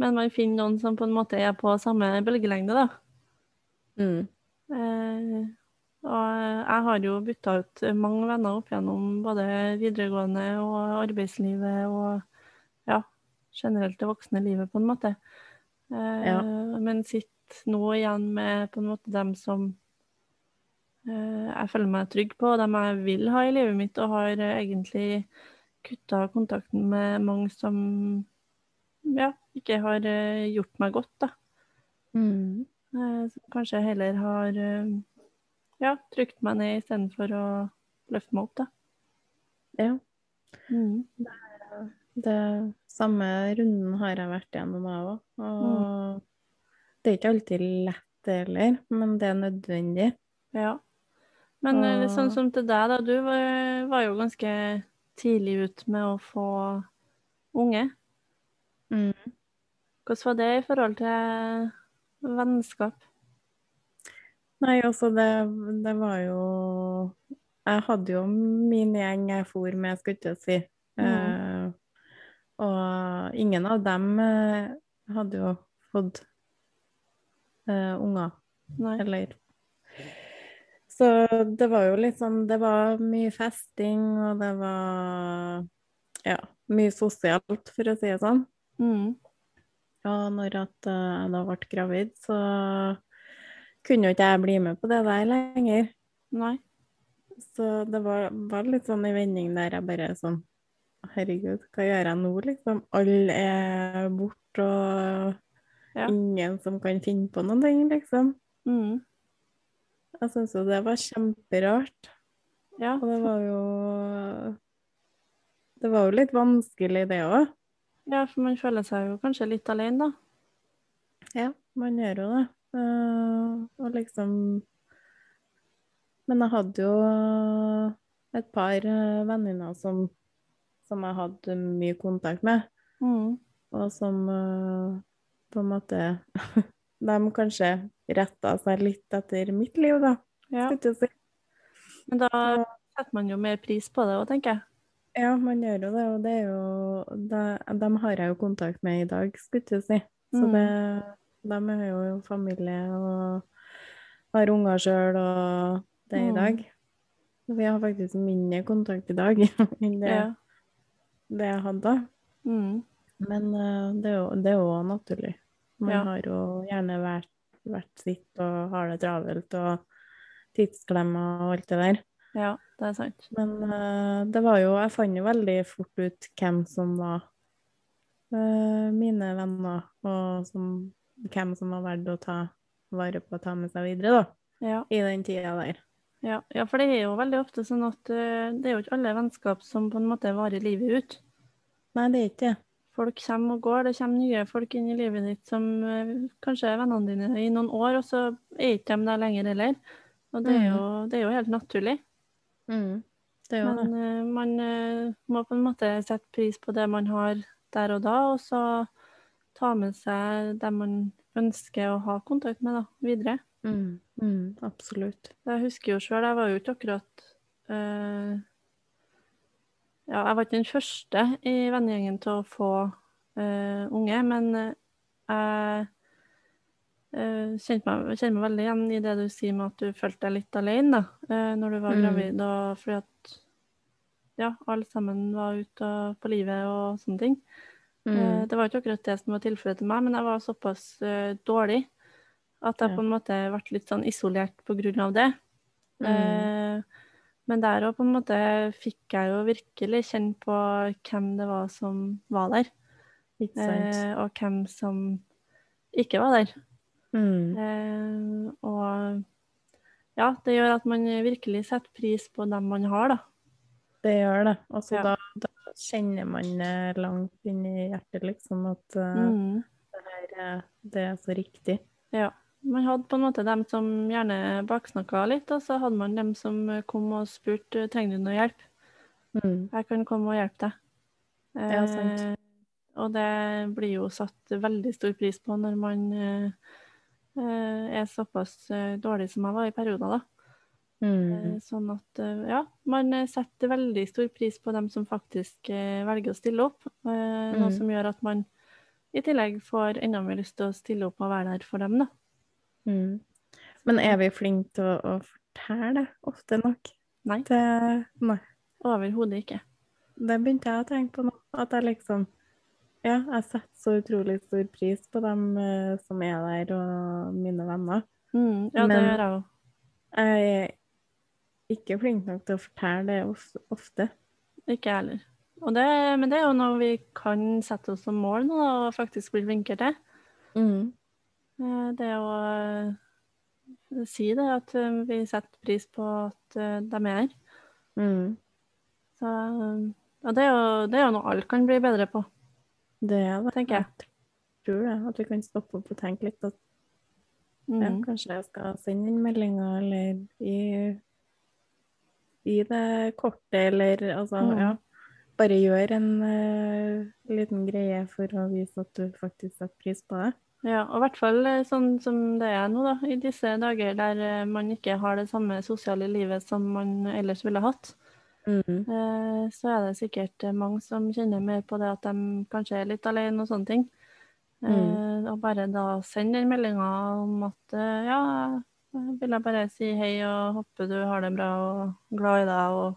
Speaker 2: Men man finner noen som på en måte er på samme bølgelengde, da.
Speaker 1: Mm.
Speaker 2: Eh, og jeg har jo bytta ut mange venner opp gjennom både videregående og arbeidslivet og ja, generelt det voksne livet, på en måte. Eh,
Speaker 1: Ja.
Speaker 2: Men sitter nå igjen med på en måte dem som eh, jeg føler meg trygg på, og dem jeg vil ha i livet mitt, og har eh, egentlig kutta kontakten med mange som ja, ikke har eh, gjort meg godt, da.
Speaker 1: Mm.
Speaker 2: Eh, så kanskje jeg heller har eh, ja, trykt meg ned istedenfor å løfte meg opp, da.
Speaker 1: Ja. Mm. Det samme runden har jeg vært gjennom, jeg òg. Og det er ikke alltid lett heller, men det er nødvendig.
Speaker 2: Ja. Men eh, litt sånn
Speaker 1: Og-
Speaker 2: som til deg, da. Du var, var jo ganske tidlig ut med å få unge.
Speaker 1: Mm.
Speaker 2: Hvordan var det i forhold til vennskap?
Speaker 1: Nei, altså, det, det var jo Jeg hadde jo min gjeng jeg for med, skal ikke jeg si.
Speaker 2: Mm.
Speaker 1: Eh, og ingen av dem eh, hadde jo fått eh, unger.
Speaker 2: Nei.
Speaker 1: Eller Så det var jo litt sånn Det var mye festing, og det var ja, mye sosialt, for å si det sånn.
Speaker 2: Mm.
Speaker 1: Og når at eh, jeg da ble gravid, så kunne jo ikke jeg bli med på det der lenger.
Speaker 2: Nei.
Speaker 1: Så det var, var litt sånn i vending der jeg bare sånn Herregud, hva gjør jeg nå, liksom? Alle er borte, og
Speaker 2: Ja.
Speaker 1: ingen som kan finne på noen ting, liksom.
Speaker 2: Mm.
Speaker 1: Jeg syns jo det var kjemperart.
Speaker 2: Ja.
Speaker 1: Og det var jo Det var jo litt vanskelig, det òg.
Speaker 2: ja, for man føler seg jo kanskje litt alene, da.
Speaker 1: Ja, man gjør jo det. Eh, og liksom Men jeg hadde jo et par eh, venninner som, som jeg hadde mye kontakt med,
Speaker 2: Mm.
Speaker 1: og som eh, på en måte De kanskje retta seg litt etter mitt liv, da.
Speaker 2: Ja.
Speaker 1: skulle jeg si.
Speaker 2: Men da
Speaker 1: Så-
Speaker 2: setter man jo mer pris på det òg, tenker jeg.
Speaker 1: Ja, man gjør jo det, og det er jo de, dem har jeg jo kontakt med i dag, skulle jeg til å si. Så
Speaker 2: Mm.
Speaker 1: det, dem er jo familie og har unger sjøl og det i
Speaker 2: Mm.
Speaker 1: dag. Vi har faktisk mindre kontakt i dag enn det,
Speaker 2: Ja.
Speaker 1: det jeg hadde.
Speaker 2: Mm.
Speaker 1: Men eh, det er jo- det er jo også naturlig. Man
Speaker 2: Ja.
Speaker 1: har jo gjerne vært, vært sitt og har det travelt og tidsklemmer og alt det der.
Speaker 2: ja, det er sant.
Speaker 1: Men eh, det var jo Jeg fant jo veldig fort ut hvem som var eh, mine venner, og som, hvem som var verdt å ta vare på og ta med seg videre, da.
Speaker 2: Ja.
Speaker 1: I den tida der.
Speaker 2: Ja, ja, for det er jo veldig ofte sånn at eh, det er jo ikke alle vennskap som på en måte varer livet ut.
Speaker 1: Nei, det er ikke det.
Speaker 2: Folk kommer og går, det kommer nye folk inn i livet ditt som eh, kanskje er vennene dine i noen år, og så er ikke de der lenger heller. Og det er jo, det er jo helt naturlig.
Speaker 1: Mm. Det er jo det.
Speaker 2: Men eh, man eh, må på en måte sette pris på det man har der og da, og så ta med seg dem man ønsker å ha kontakt med da, videre.
Speaker 1: Mm. Mm, absolutt.
Speaker 2: Jeg husker jo sjøl, jeg var jo ikke akkurat eh, Ja, jeg var ikke den første i vennegjengen til å få eh, unge, men eh, jeg eh, kjente, meg, kjenner meg veldig igjen i det du sier med at du følte deg litt alene da, eh, når du var
Speaker 1: Mm.
Speaker 2: gravid, og fordi at ja, alle sammen var ute og- på livet og sånne ting. Eh,
Speaker 1: Mm.
Speaker 2: Det var ikke akkurat det som var tilfellet til meg, men jeg var såpass eh, dårlig at jeg
Speaker 1: Ja.
Speaker 2: på en måte ble litt sånn isolert på grunn av det.
Speaker 1: Mm.
Speaker 2: Eh, men der òg på en måte fikk jeg jo virkelig kjenne på hvem det var som var der,
Speaker 1: Ikke sant.
Speaker 2: eh, og hvem som ikke var der.
Speaker 1: Mm.
Speaker 2: Eh, og ja, det gjør at man virkelig setter pris på dem man har, da.
Speaker 1: Det gjør det. Og så
Speaker 2: Ja.
Speaker 1: da, da kjenner man det langt inn i hjertet, liksom, at eh,
Speaker 2: Mm.
Speaker 1: det her eh, det er så riktig.
Speaker 2: Ja. Man hadde på en måte dem som gjerne baksnakka litt, og så hadde man dem som kom og spurte trenger du noe hjelp.
Speaker 1: Mm.
Speaker 2: Jeg kan komme og hjelpe deg.
Speaker 1: Ja, sant.
Speaker 2: Eh, og det blir jo satt veldig stor pris på når man eh, eh, er såpass eh, dårlig som jeg var i perioder, da. Eh,
Speaker 1: Mm.
Speaker 2: Sånn at, eh, ja, man eh, setter veldig stor pris på dem som faktisk eh, velger å stille opp. eh, Noe
Speaker 1: Mm.
Speaker 2: som gjør at man i tillegg får enda mer lyst til å stille opp og være der for dem, da.
Speaker 1: Mm. Men er vi flinke til å, å fortelle det ofte nok?
Speaker 2: Nei.
Speaker 1: Det, nei.
Speaker 2: Overhodet ikke.
Speaker 1: det begynte jeg å tenke på nå. At jeg liksom Ja, jeg setter så utrolig stor pris på dem eh, som er der, og mine venner.
Speaker 2: Mm, ja, det
Speaker 1: Men-
Speaker 2: gjør jeg òg.
Speaker 1: Jeg er ikke flink nok til å fortelle det of- ofte.
Speaker 2: Ikke jeg heller. Og det, men det er jo noe vi kan sette oss som mål nå, da, og faktisk bli flinkere til. Eh, Det å eh, si det, at eh, vi setter pris på at eh, de er her.
Speaker 1: Mm.
Speaker 2: Så, eh, ja, det, er jo, det er jo noe alle kan bli bedre på,
Speaker 1: Det er det.
Speaker 2: tenker jeg.
Speaker 1: tror det. At vi kan stoppe opp og tenke litt at
Speaker 2: Mm.
Speaker 1: ja, kanskje jeg skal sende inn meldinger eller i, i det kortet eller altså
Speaker 2: Mm.
Speaker 1: ja. Bare gjør en eh, liten greie for å vise at du faktisk setter pris på det.
Speaker 2: Ja, og i hvert fall eh, sånn som det er nå, da. I disse dager der eh, man ikke har det samme sosiale livet som man ellers ville hatt,
Speaker 1: Mm.
Speaker 2: eh, så er det sikkert eh, mange som kjenner mer på det at de kanskje er litt alene og sånne ting.
Speaker 1: Mm.
Speaker 2: Eh, Og bare da send den meldinga om at eh, ja, jeg ville bare si hei og håper du har det bra og glad i deg og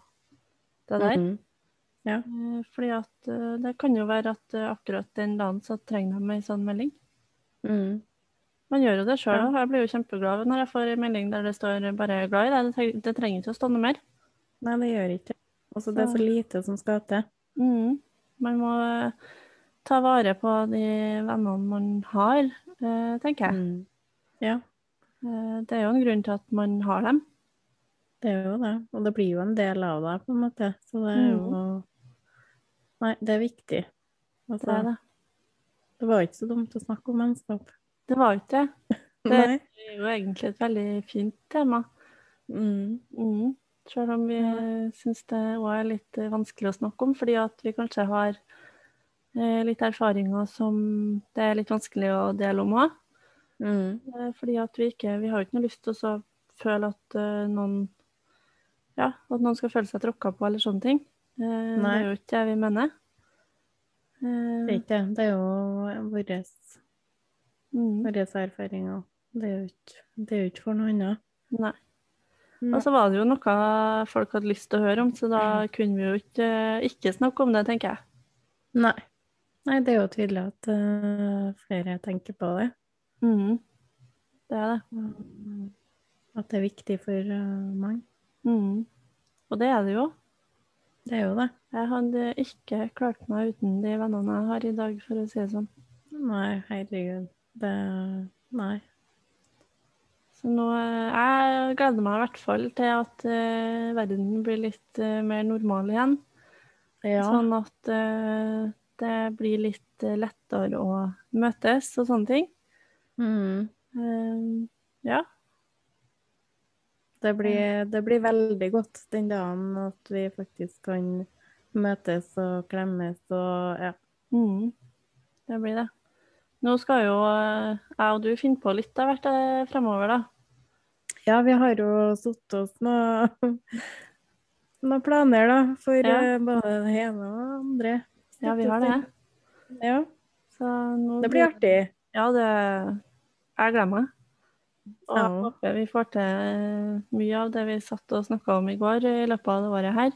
Speaker 2: det der.
Speaker 1: Mm.
Speaker 2: Eh, Fordi at eh, det kan jo være at eh, akkurat den dagen så trenger de ei sånn melding.
Speaker 1: Mm.
Speaker 2: Man gjør jo det sjøl
Speaker 1: Ja.
Speaker 2: òg. Jeg blir jo kjempeglad når jeg får en melding der det står 'bare er glad i deg'. Det treng- Det trenger ikke å stå noe mer.
Speaker 1: Nei, det gjør ikke det. Altså, det er så
Speaker 2: Så-
Speaker 1: lite som skal til.
Speaker 2: Mm. Man må eh, ta vare på de vennene man har, eh, tenker jeg.
Speaker 1: Mm. Ja,
Speaker 2: Eh, Det er jo en grunn til at man har dem.
Speaker 1: det er jo det. Og det blir jo en del av deg, på en måte. Så det er jo Nei, det er viktig. Altså,
Speaker 2: Det, er
Speaker 1: det,
Speaker 2: det.
Speaker 1: var ikke så dumt å snakke om vennskap.
Speaker 2: det var jo ikke det. Det-
Speaker 1: Nei.
Speaker 2: Det er jo egentlig et veldig fint tema.
Speaker 1: Mm.
Speaker 2: Mm. Selv om vi syns det òg er litt eh, vanskelig å snakke om, fordi at vi kanskje har eh, litt erfaringer som det er litt vanskelig å dele om òg.
Speaker 1: Mm.
Speaker 2: Eh, Fordi at vi ikke Vi har jo ikke noe lyst til å så føle at eh, noen Ja, at noen skal føle seg tråkka på eller sånne ting. Eh, Det
Speaker 1: Nei.
Speaker 2: er jo ikke det vi mener. Eh,
Speaker 1: Det er ikke det. Det er jo våres,
Speaker 2: mm,
Speaker 1: våres erfaringer. Det er jo ikke, det er jo ikke for noe annet. Altså,
Speaker 2: nei.
Speaker 1: Nei.
Speaker 2: Og så var det jo noe folk hadde lyst til å høre om, så da kunne vi jo ikke, ikke snakke om det, tenker jeg.
Speaker 1: Nei. Nei, det er jo tydelig at eh, flere tenker på det.
Speaker 2: Mm, det er det.
Speaker 1: Mm. At det er viktig for eh, mange.
Speaker 2: Mm. Og det er det jo.
Speaker 1: Det er jo det.
Speaker 2: Jeg hadde ikke klart meg uten de vennene jeg har i dag, for å si det sånn.
Speaker 1: Nei, herregud. Det Nei.
Speaker 2: Så nå, eh, jeg gleder meg i hvert fall til at eh, verden blir litt eh, mer normal igjen.
Speaker 1: Ja.
Speaker 2: Sånn at eh, det blir litt eh, lettere å møtes og sånne ting.
Speaker 1: Mm.
Speaker 2: Eh, ja.
Speaker 1: Det, blir, det blir veldig godt den dagen at vi faktisk kan møtes og klemmes og ja.
Speaker 2: Mm. Det blir det. Nå skal jo eh, jeg og du finne på litt av hvert eh, fremover, da.
Speaker 1: Ja, vi har jo satt oss noen noe planer, da, for
Speaker 2: Ja.
Speaker 1: eh, både det ene og det andre.
Speaker 2: Ja, vi har det.
Speaker 1: Ja,
Speaker 2: Så nå
Speaker 1: det blir artig.
Speaker 2: Ja, det Jeg gleder meg. Og jeg
Speaker 1: Ja.
Speaker 2: håper vi får til eh, mye av det vi satt og snakka om i går eh, i løpet av det året her.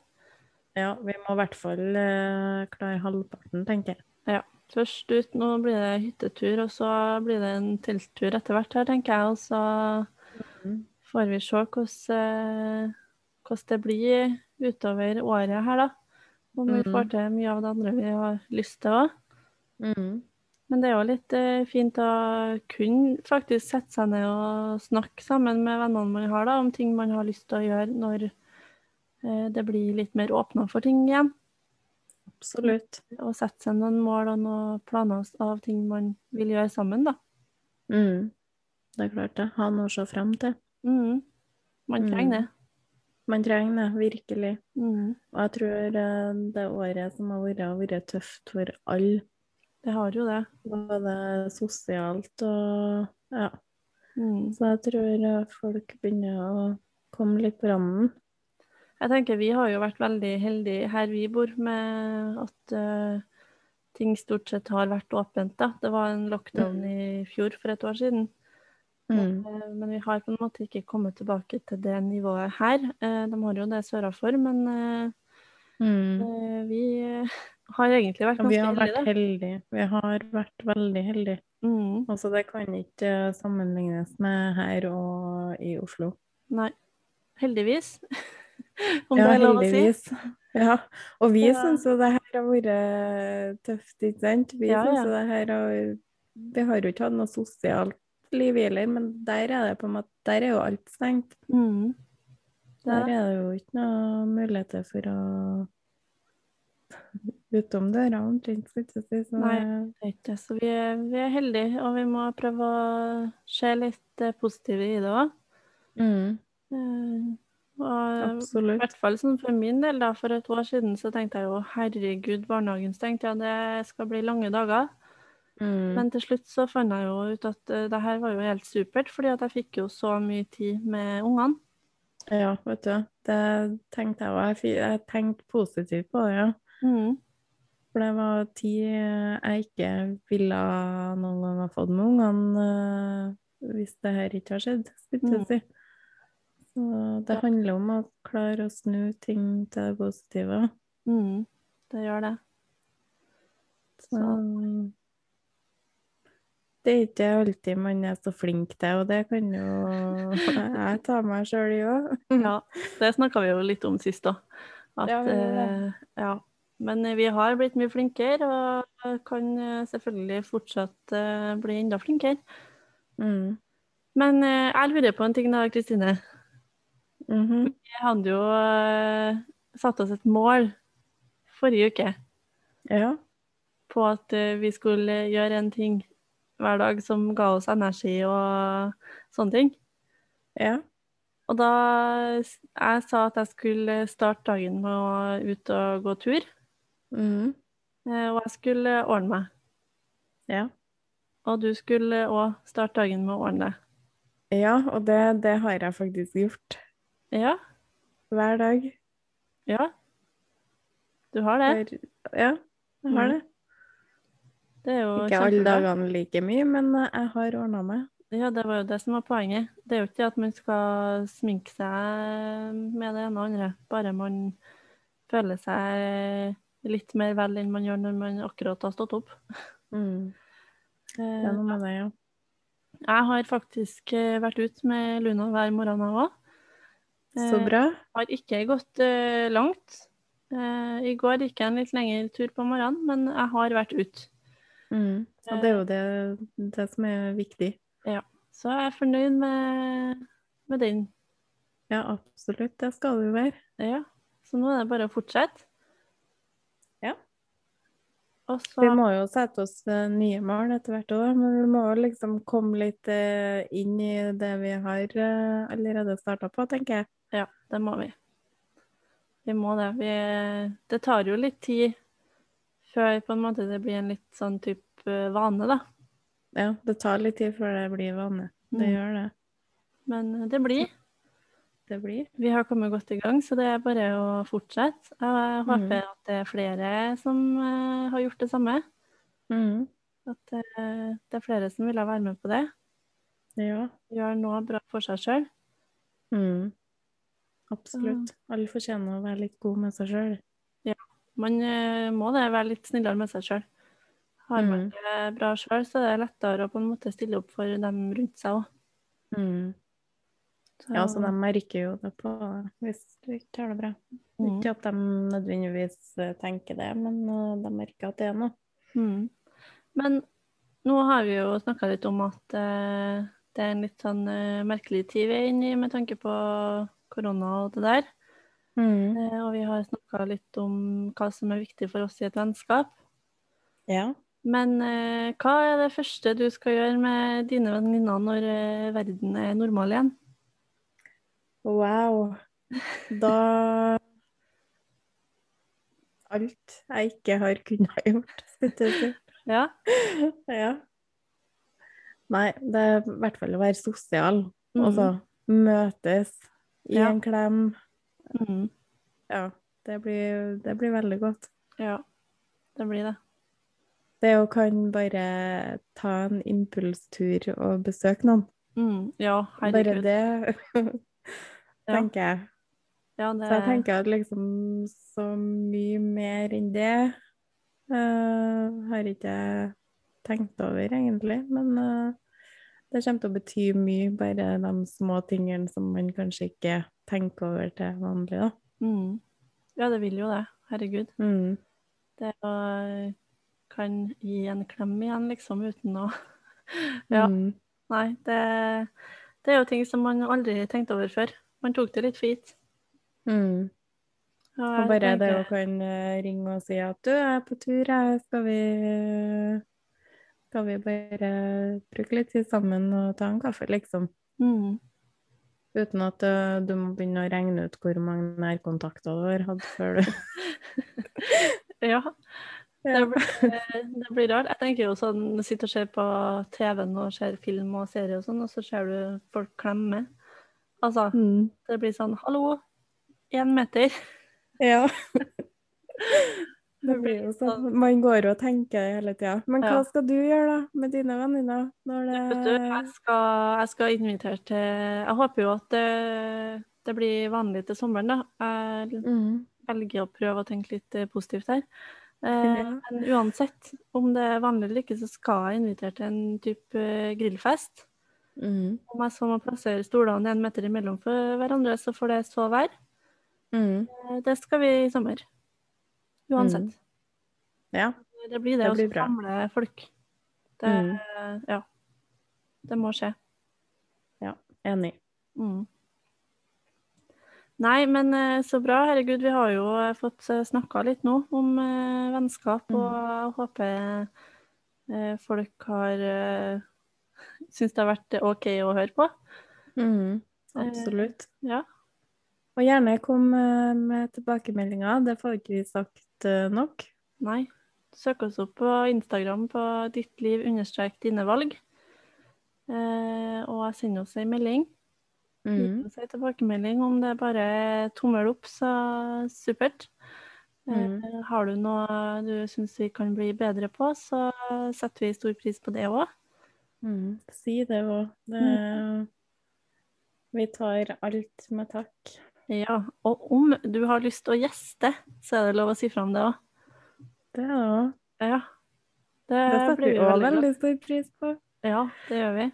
Speaker 1: Ja, vi må i hvert fall eh, klare halvparten, tenker jeg.
Speaker 2: Først ut, nå blir det hyttetur, og så blir det en telttur etter hvert her, tenker jeg. Og så
Speaker 1: Mhm.
Speaker 2: får vi se hvordan, eh, hvordan det blir utover året her, da. Om vi
Speaker 1: Mhm.
Speaker 2: får til mye av det andre vi har lyst til òg.
Speaker 1: Mm.
Speaker 2: Men det er jo litt eh, fint å kunne faktisk sette seg ned og snakke sammen med vennene man har, da, om ting man har lyst til å gjøre når eh, det blir litt mer åpna for ting igjen.
Speaker 1: Absolutt.
Speaker 2: Og sette seg noen mål og noen planer av ting man vil gjøre sammen, da.
Speaker 1: Mm. Det er klart det. Ha noe å se frem til.
Speaker 2: Mm. Man
Speaker 1: Mm.
Speaker 2: trenger det.
Speaker 1: Man trenger det, virkelig.
Speaker 2: Mm.
Speaker 1: Og jeg tror eh, det året som har vært, har vært tøft for alle.
Speaker 2: Det har jo det.
Speaker 1: Både sosialt og ja.
Speaker 2: Mm.
Speaker 1: Så jeg tror eh, folk begynner å komme litt på randen.
Speaker 2: Jeg tenker vi har jo vært veldig heldige her vi bor, med at eh, ting stort sett har vært åpent, da. Det var en lockdown i fjor for et år siden.
Speaker 1: Mm.
Speaker 2: Eh, Men vi har på en måte ikke kommet tilbake til det nivået her. Eh, De har jo det sørafor, men eh,
Speaker 1: Mm.
Speaker 2: eh, vi eh, har egentlig vært
Speaker 1: Vi
Speaker 2: ganske
Speaker 1: har vært
Speaker 2: heldige.
Speaker 1: heldige. Vi har vært veldig heldige.
Speaker 2: da. Mm,
Speaker 1: Altså, det kan ikke eh, sammenlignes med her og i Oslo.
Speaker 2: nei, heldigvis. Om
Speaker 1: Ja,
Speaker 2: det er lov å si.
Speaker 1: heldigvis. Ja, og vi
Speaker 2: Ja.
Speaker 1: syns jo det her har vært tøft, ikke sant? Vi
Speaker 2: Ja,
Speaker 1: synes
Speaker 2: ja.
Speaker 1: jo det her har Vi har jo ikke hatt noe sosialt Liv Wieler, men der er det på en måte, der er jo alt stengt.
Speaker 2: Mm.
Speaker 1: Der
Speaker 2: Det-
Speaker 1: er det jo ikke noe muligheter for å utom døra, omtrent, skulle jeg til å si. Så
Speaker 2: Nei. Det er ikke det. Så vi er, vi er heldige, og vi må prøve å se litt eh, positive i det òg.
Speaker 1: Mm,
Speaker 2: Og eh, i
Speaker 1: absolutt.
Speaker 2: hvert fall sånn for min del, da. For et år siden så tenkte jeg jo herregud, barnehagen stengt. Ja, det skal bli lange dager.
Speaker 1: Mm,
Speaker 2: Men til slutt så fant jeg jo ut at eh, det her var jo helt supert, fordi at jeg fikk jo så mye tid med ungene.
Speaker 1: ja, vet du. Det tenkte jeg òg. Jeg tenkte positivt på det, ja.
Speaker 2: Mm.
Speaker 1: For det var tid jeg ikke ville noen gang ha fått med ungene eh, hvis det her ikke har skjedd,
Speaker 2: Mm.
Speaker 1: skulle jeg si. Så det
Speaker 2: Ja.
Speaker 1: handler om å klare å snu ting til det positive.
Speaker 2: Mm. Det gjør det.
Speaker 1: Så
Speaker 2: Så-
Speaker 1: det er ikke alltid man er så flink til, og det kan jo jeg ta meg sjøl i òg.
Speaker 2: Ja, det snakka vi jo litt om sist òg.
Speaker 1: Ja, vi gjorde det.
Speaker 2: ja. Men eh, vi har blitt mye flinkere, og kan eh, selvfølgelig fortsatt eh, bli enda flinkere.
Speaker 1: Mm.
Speaker 2: Men eh, jeg lurer på en ting da, Kristine.
Speaker 1: Mhm.
Speaker 2: Vi hadde jo eh, satt oss et mål forrige uke
Speaker 1: Ja.
Speaker 2: på at eh, vi skulle gjøre en ting hver dag som ga oss energi og sånne ting.
Speaker 1: Ja.
Speaker 2: Og da s- jeg sa at jeg skulle eh, starte dagen med å ut og gå tur,
Speaker 1: Mm.
Speaker 2: eh, og jeg skulle ordne meg.
Speaker 1: ja.
Speaker 2: Og du skulle òg starte dagen med å ordne deg.
Speaker 1: Ja, og det, det har jeg faktisk gjort
Speaker 2: Ja,
Speaker 1: hver dag.
Speaker 2: ja. Du har det.
Speaker 1: Hver, ja, jeg har
Speaker 2: Mm.
Speaker 1: det.
Speaker 2: Det er jo
Speaker 1: Ikke alle
Speaker 2: kjempebra.
Speaker 1: dagene like mye, men jeg har ordna meg.
Speaker 2: Ja, det var jo det som var poenget. Det er jo ikke at man skal sminke seg med det ene og andre, bare man føler seg litt mer vel enn man gjør når man akkurat har stått opp.
Speaker 1: Mm. Det er
Speaker 2: Eh,
Speaker 1: noe med det, ja.
Speaker 2: Jeg har faktisk eh, vært ute med Luna hver morgen, jeg òg.
Speaker 1: Så bra.
Speaker 2: Har ikke gått eh, langt. Eh, I går gikk jeg en litt lengre tur på morgenen, men jeg har vært ute.
Speaker 1: Mm. Og det er jo det, det som er viktig.
Speaker 2: Så jeg er fornøyd med, med den.
Speaker 1: Ja, absolutt. Det skal du være.
Speaker 2: Ja. Så nå er det bare å fortsette.
Speaker 1: Ja.
Speaker 2: Og så
Speaker 1: Vi må jo sette oss eh, nye mål etter hvert òg, men vi må jo liksom komme litt eh, inn i det vi har eh, allerede starta på, tenker jeg.
Speaker 2: Ja, det må vi. Vi må det. Vi, det tar jo litt tid før på en måte det blir en litt sånn type vane, da.
Speaker 1: Ja, det tar litt tid før det blir vane. Det
Speaker 2: Mm.
Speaker 1: gjør det.
Speaker 2: Men eh, det blir.
Speaker 1: Det blir.
Speaker 2: Vi har kommet godt i gang, så det er bare å fortsette. Jeg håper
Speaker 1: Mm.
Speaker 2: at det er flere som eh, har gjort det samme.
Speaker 1: Mm.
Speaker 2: At eh, det er flere som ville være med på det.
Speaker 1: Ja.
Speaker 2: Gjør noe bra for seg sjøl.
Speaker 1: Mm. Absolutt. Alle fortjener å være litt god med seg sjøl.
Speaker 2: Man eh, må det være litt snillere med seg sjøl. Har
Speaker 1: Mm.
Speaker 2: man det bra sjøl, så er det lettere å på en måte stille opp for dem rundt seg òg.
Speaker 1: Mm. Ja, så de merker jo det på deg hvis du ikke har det bra.
Speaker 2: Mm.
Speaker 1: Ikke at de nødvendigvis eh, tenker det, men eh, de merker at det er noe.
Speaker 2: Mm. Men nå har vi jo snakka litt om at eh, det er en litt sånn eh, merkelig tid vi er inne i med tanke på korona og det der.
Speaker 1: Mm.
Speaker 2: Eh, og vi har snakka litt om hva som er viktig for oss i et vennskap.
Speaker 1: Ja.
Speaker 2: Men eh, hva er det første du skal gjøre med dine venninner når eh, verden er normal igjen?
Speaker 1: Wow. Da Alt jeg ikke har kunnet ha gjort, skulle jeg
Speaker 2: Ja.
Speaker 1: si. Ja. Nei, det er i hvert fall å være sosial.
Speaker 2: Mhm.
Speaker 1: Altså møtes i
Speaker 2: Ja.
Speaker 1: en klem.
Speaker 2: Mm.
Speaker 1: Ja. Det blir, det blir veldig godt.
Speaker 2: ja. Det blir det.
Speaker 1: Det å kan bare ta en impulstur og besøke noen.
Speaker 2: Mm. Ja,
Speaker 1: Bare
Speaker 2: herregud.
Speaker 1: det tenker jeg.
Speaker 2: Ja, det
Speaker 1: Så jeg tenker at liksom så mye mer enn det eh, har ikke jeg tenkt over, egentlig. Men eh, det kommer til å bety mye, bare de små tingene som man kanskje ikke tenker over til vanlig, da.
Speaker 2: mm. Ja, det vil jo det. Herregud.
Speaker 1: Mm.
Speaker 2: Det eh, å kan gi en klem igjen, liksom, uten å Ja.
Speaker 1: Mm.
Speaker 2: Nei, det, det er jo ting som man aldri tenkte over før. Man tok det litt for gitt.
Speaker 1: Mm.
Speaker 2: Og
Speaker 1: Og
Speaker 2: jeg
Speaker 1: bare det
Speaker 2: tenker-
Speaker 1: å kan eh, ringe og si at du jeg er på tur, jeg. Skal vi, eh, skal vi bare bruke litt tid sammen og ta en kaffe, liksom?
Speaker 2: Mm.
Speaker 1: Uten at eh, du må begynne å regne ut hvor mange nærkontakter du har hatt før du
Speaker 2: Ja.
Speaker 1: Ja.
Speaker 2: Det blir, det blir rart. Jeg tenker jo sånn, sitter og ser på TV-en og ser film og serier og sånn, og så ser du folk klemme. Altså,
Speaker 1: mm.
Speaker 2: det blir sånn Hallo, én meter.
Speaker 1: Ja. Det blir jo sånn. Man går og tenker hele tida. Men hva
Speaker 2: Ja.
Speaker 1: skal du gjøre, da, med dine venninner? Når det
Speaker 2: Vet du, jeg skal, jeg skal invitere til Jeg håper jo at det, det blir vanlig til sommeren, da. Jeg
Speaker 1: Mm.
Speaker 2: velger å prøve å tenke litt eh, positivt her. Eh,
Speaker 1: Ja.
Speaker 2: men uansett om det er vanlig eller ikke, så skal jeg invitere til en type eh, grillfest.
Speaker 1: Mm.
Speaker 2: Om jeg så må plassere stolene en meter imellom for hverandre, så får det så være.
Speaker 1: Mm.
Speaker 2: Eh, Det skal vi i sommer. Uansett.
Speaker 1: Ja.
Speaker 2: Det blir
Speaker 1: Mm. Det
Speaker 2: det, å
Speaker 1: blir bra. Mm.
Speaker 2: samle folk. Det, Ja. Det må skje.
Speaker 1: Enig.
Speaker 2: Mm. Nei, men eh, så bra. Herregud, vi har jo eh, fått snakka litt nå om eh, vennskap, og jeg håper eh, folk har eh, syns det har vært OK å høre på.
Speaker 1: Mm. Absolutt.
Speaker 2: Ja.
Speaker 1: Og gjerne kom eh, med tilbakemeldinger. Det får ikke vi sagt eh, nok.
Speaker 2: Nei. Søk oss opp på Instagram på ditt liv understrek dine valg. Eh, og send oss ei melding. Gi
Speaker 1: Mm.
Speaker 2: oss ei tilbakemelding om det er bare tommel opp, så supert. Eh,
Speaker 1: Mm.
Speaker 2: har du noe du syns vi kan bli bedre på, så setter vi stor pris på det òg.
Speaker 1: Mm. Si det òg. Det... Vi tar alt med takk.
Speaker 2: Ja, og om du har lyst til å gjeste, så er det lov å si fra om det òg.
Speaker 1: Det er det òg.
Speaker 2: Ja. Det,
Speaker 1: Det setter
Speaker 2: blir
Speaker 1: Eh, vi
Speaker 2: vi
Speaker 1: òg
Speaker 2: veldig glad
Speaker 1: veldig stor pris på.
Speaker 2: Ja, det gjør vi.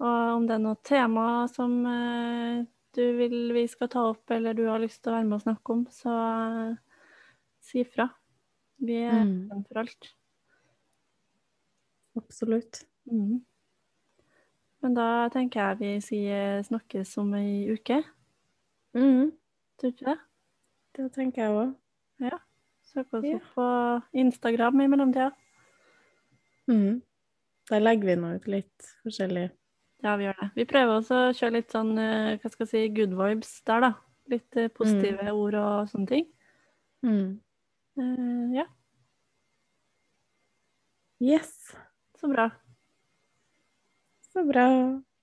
Speaker 2: Og om det er noe tema som eh, du vil vi skal ta opp, eller du har lyst til å være med og snakke om, så eh, si fra. Vi er
Speaker 1: Mm.
Speaker 2: åpne for alt.
Speaker 1: Absolutt.
Speaker 2: Mm. Men da tenker jeg vi sier snakkes om ei uke,
Speaker 1: Mm.
Speaker 2: tror du ikke det?
Speaker 1: Det tenker jeg òg.
Speaker 2: Søk oss
Speaker 1: Ja.
Speaker 2: opp på Instagram i mellomtida.
Speaker 1: Mm. Der legger vi nå ut litt forskjellig.
Speaker 2: Ja, vi gjør det. Vi prøver også å kjøre litt sånn, eh, hva skal jeg si, good vibes der, da. Litt eh, positive ord og sånne ting.
Speaker 1: Mm.
Speaker 2: Eh, ja,
Speaker 1: Yes,
Speaker 2: så bra.
Speaker 1: så bra.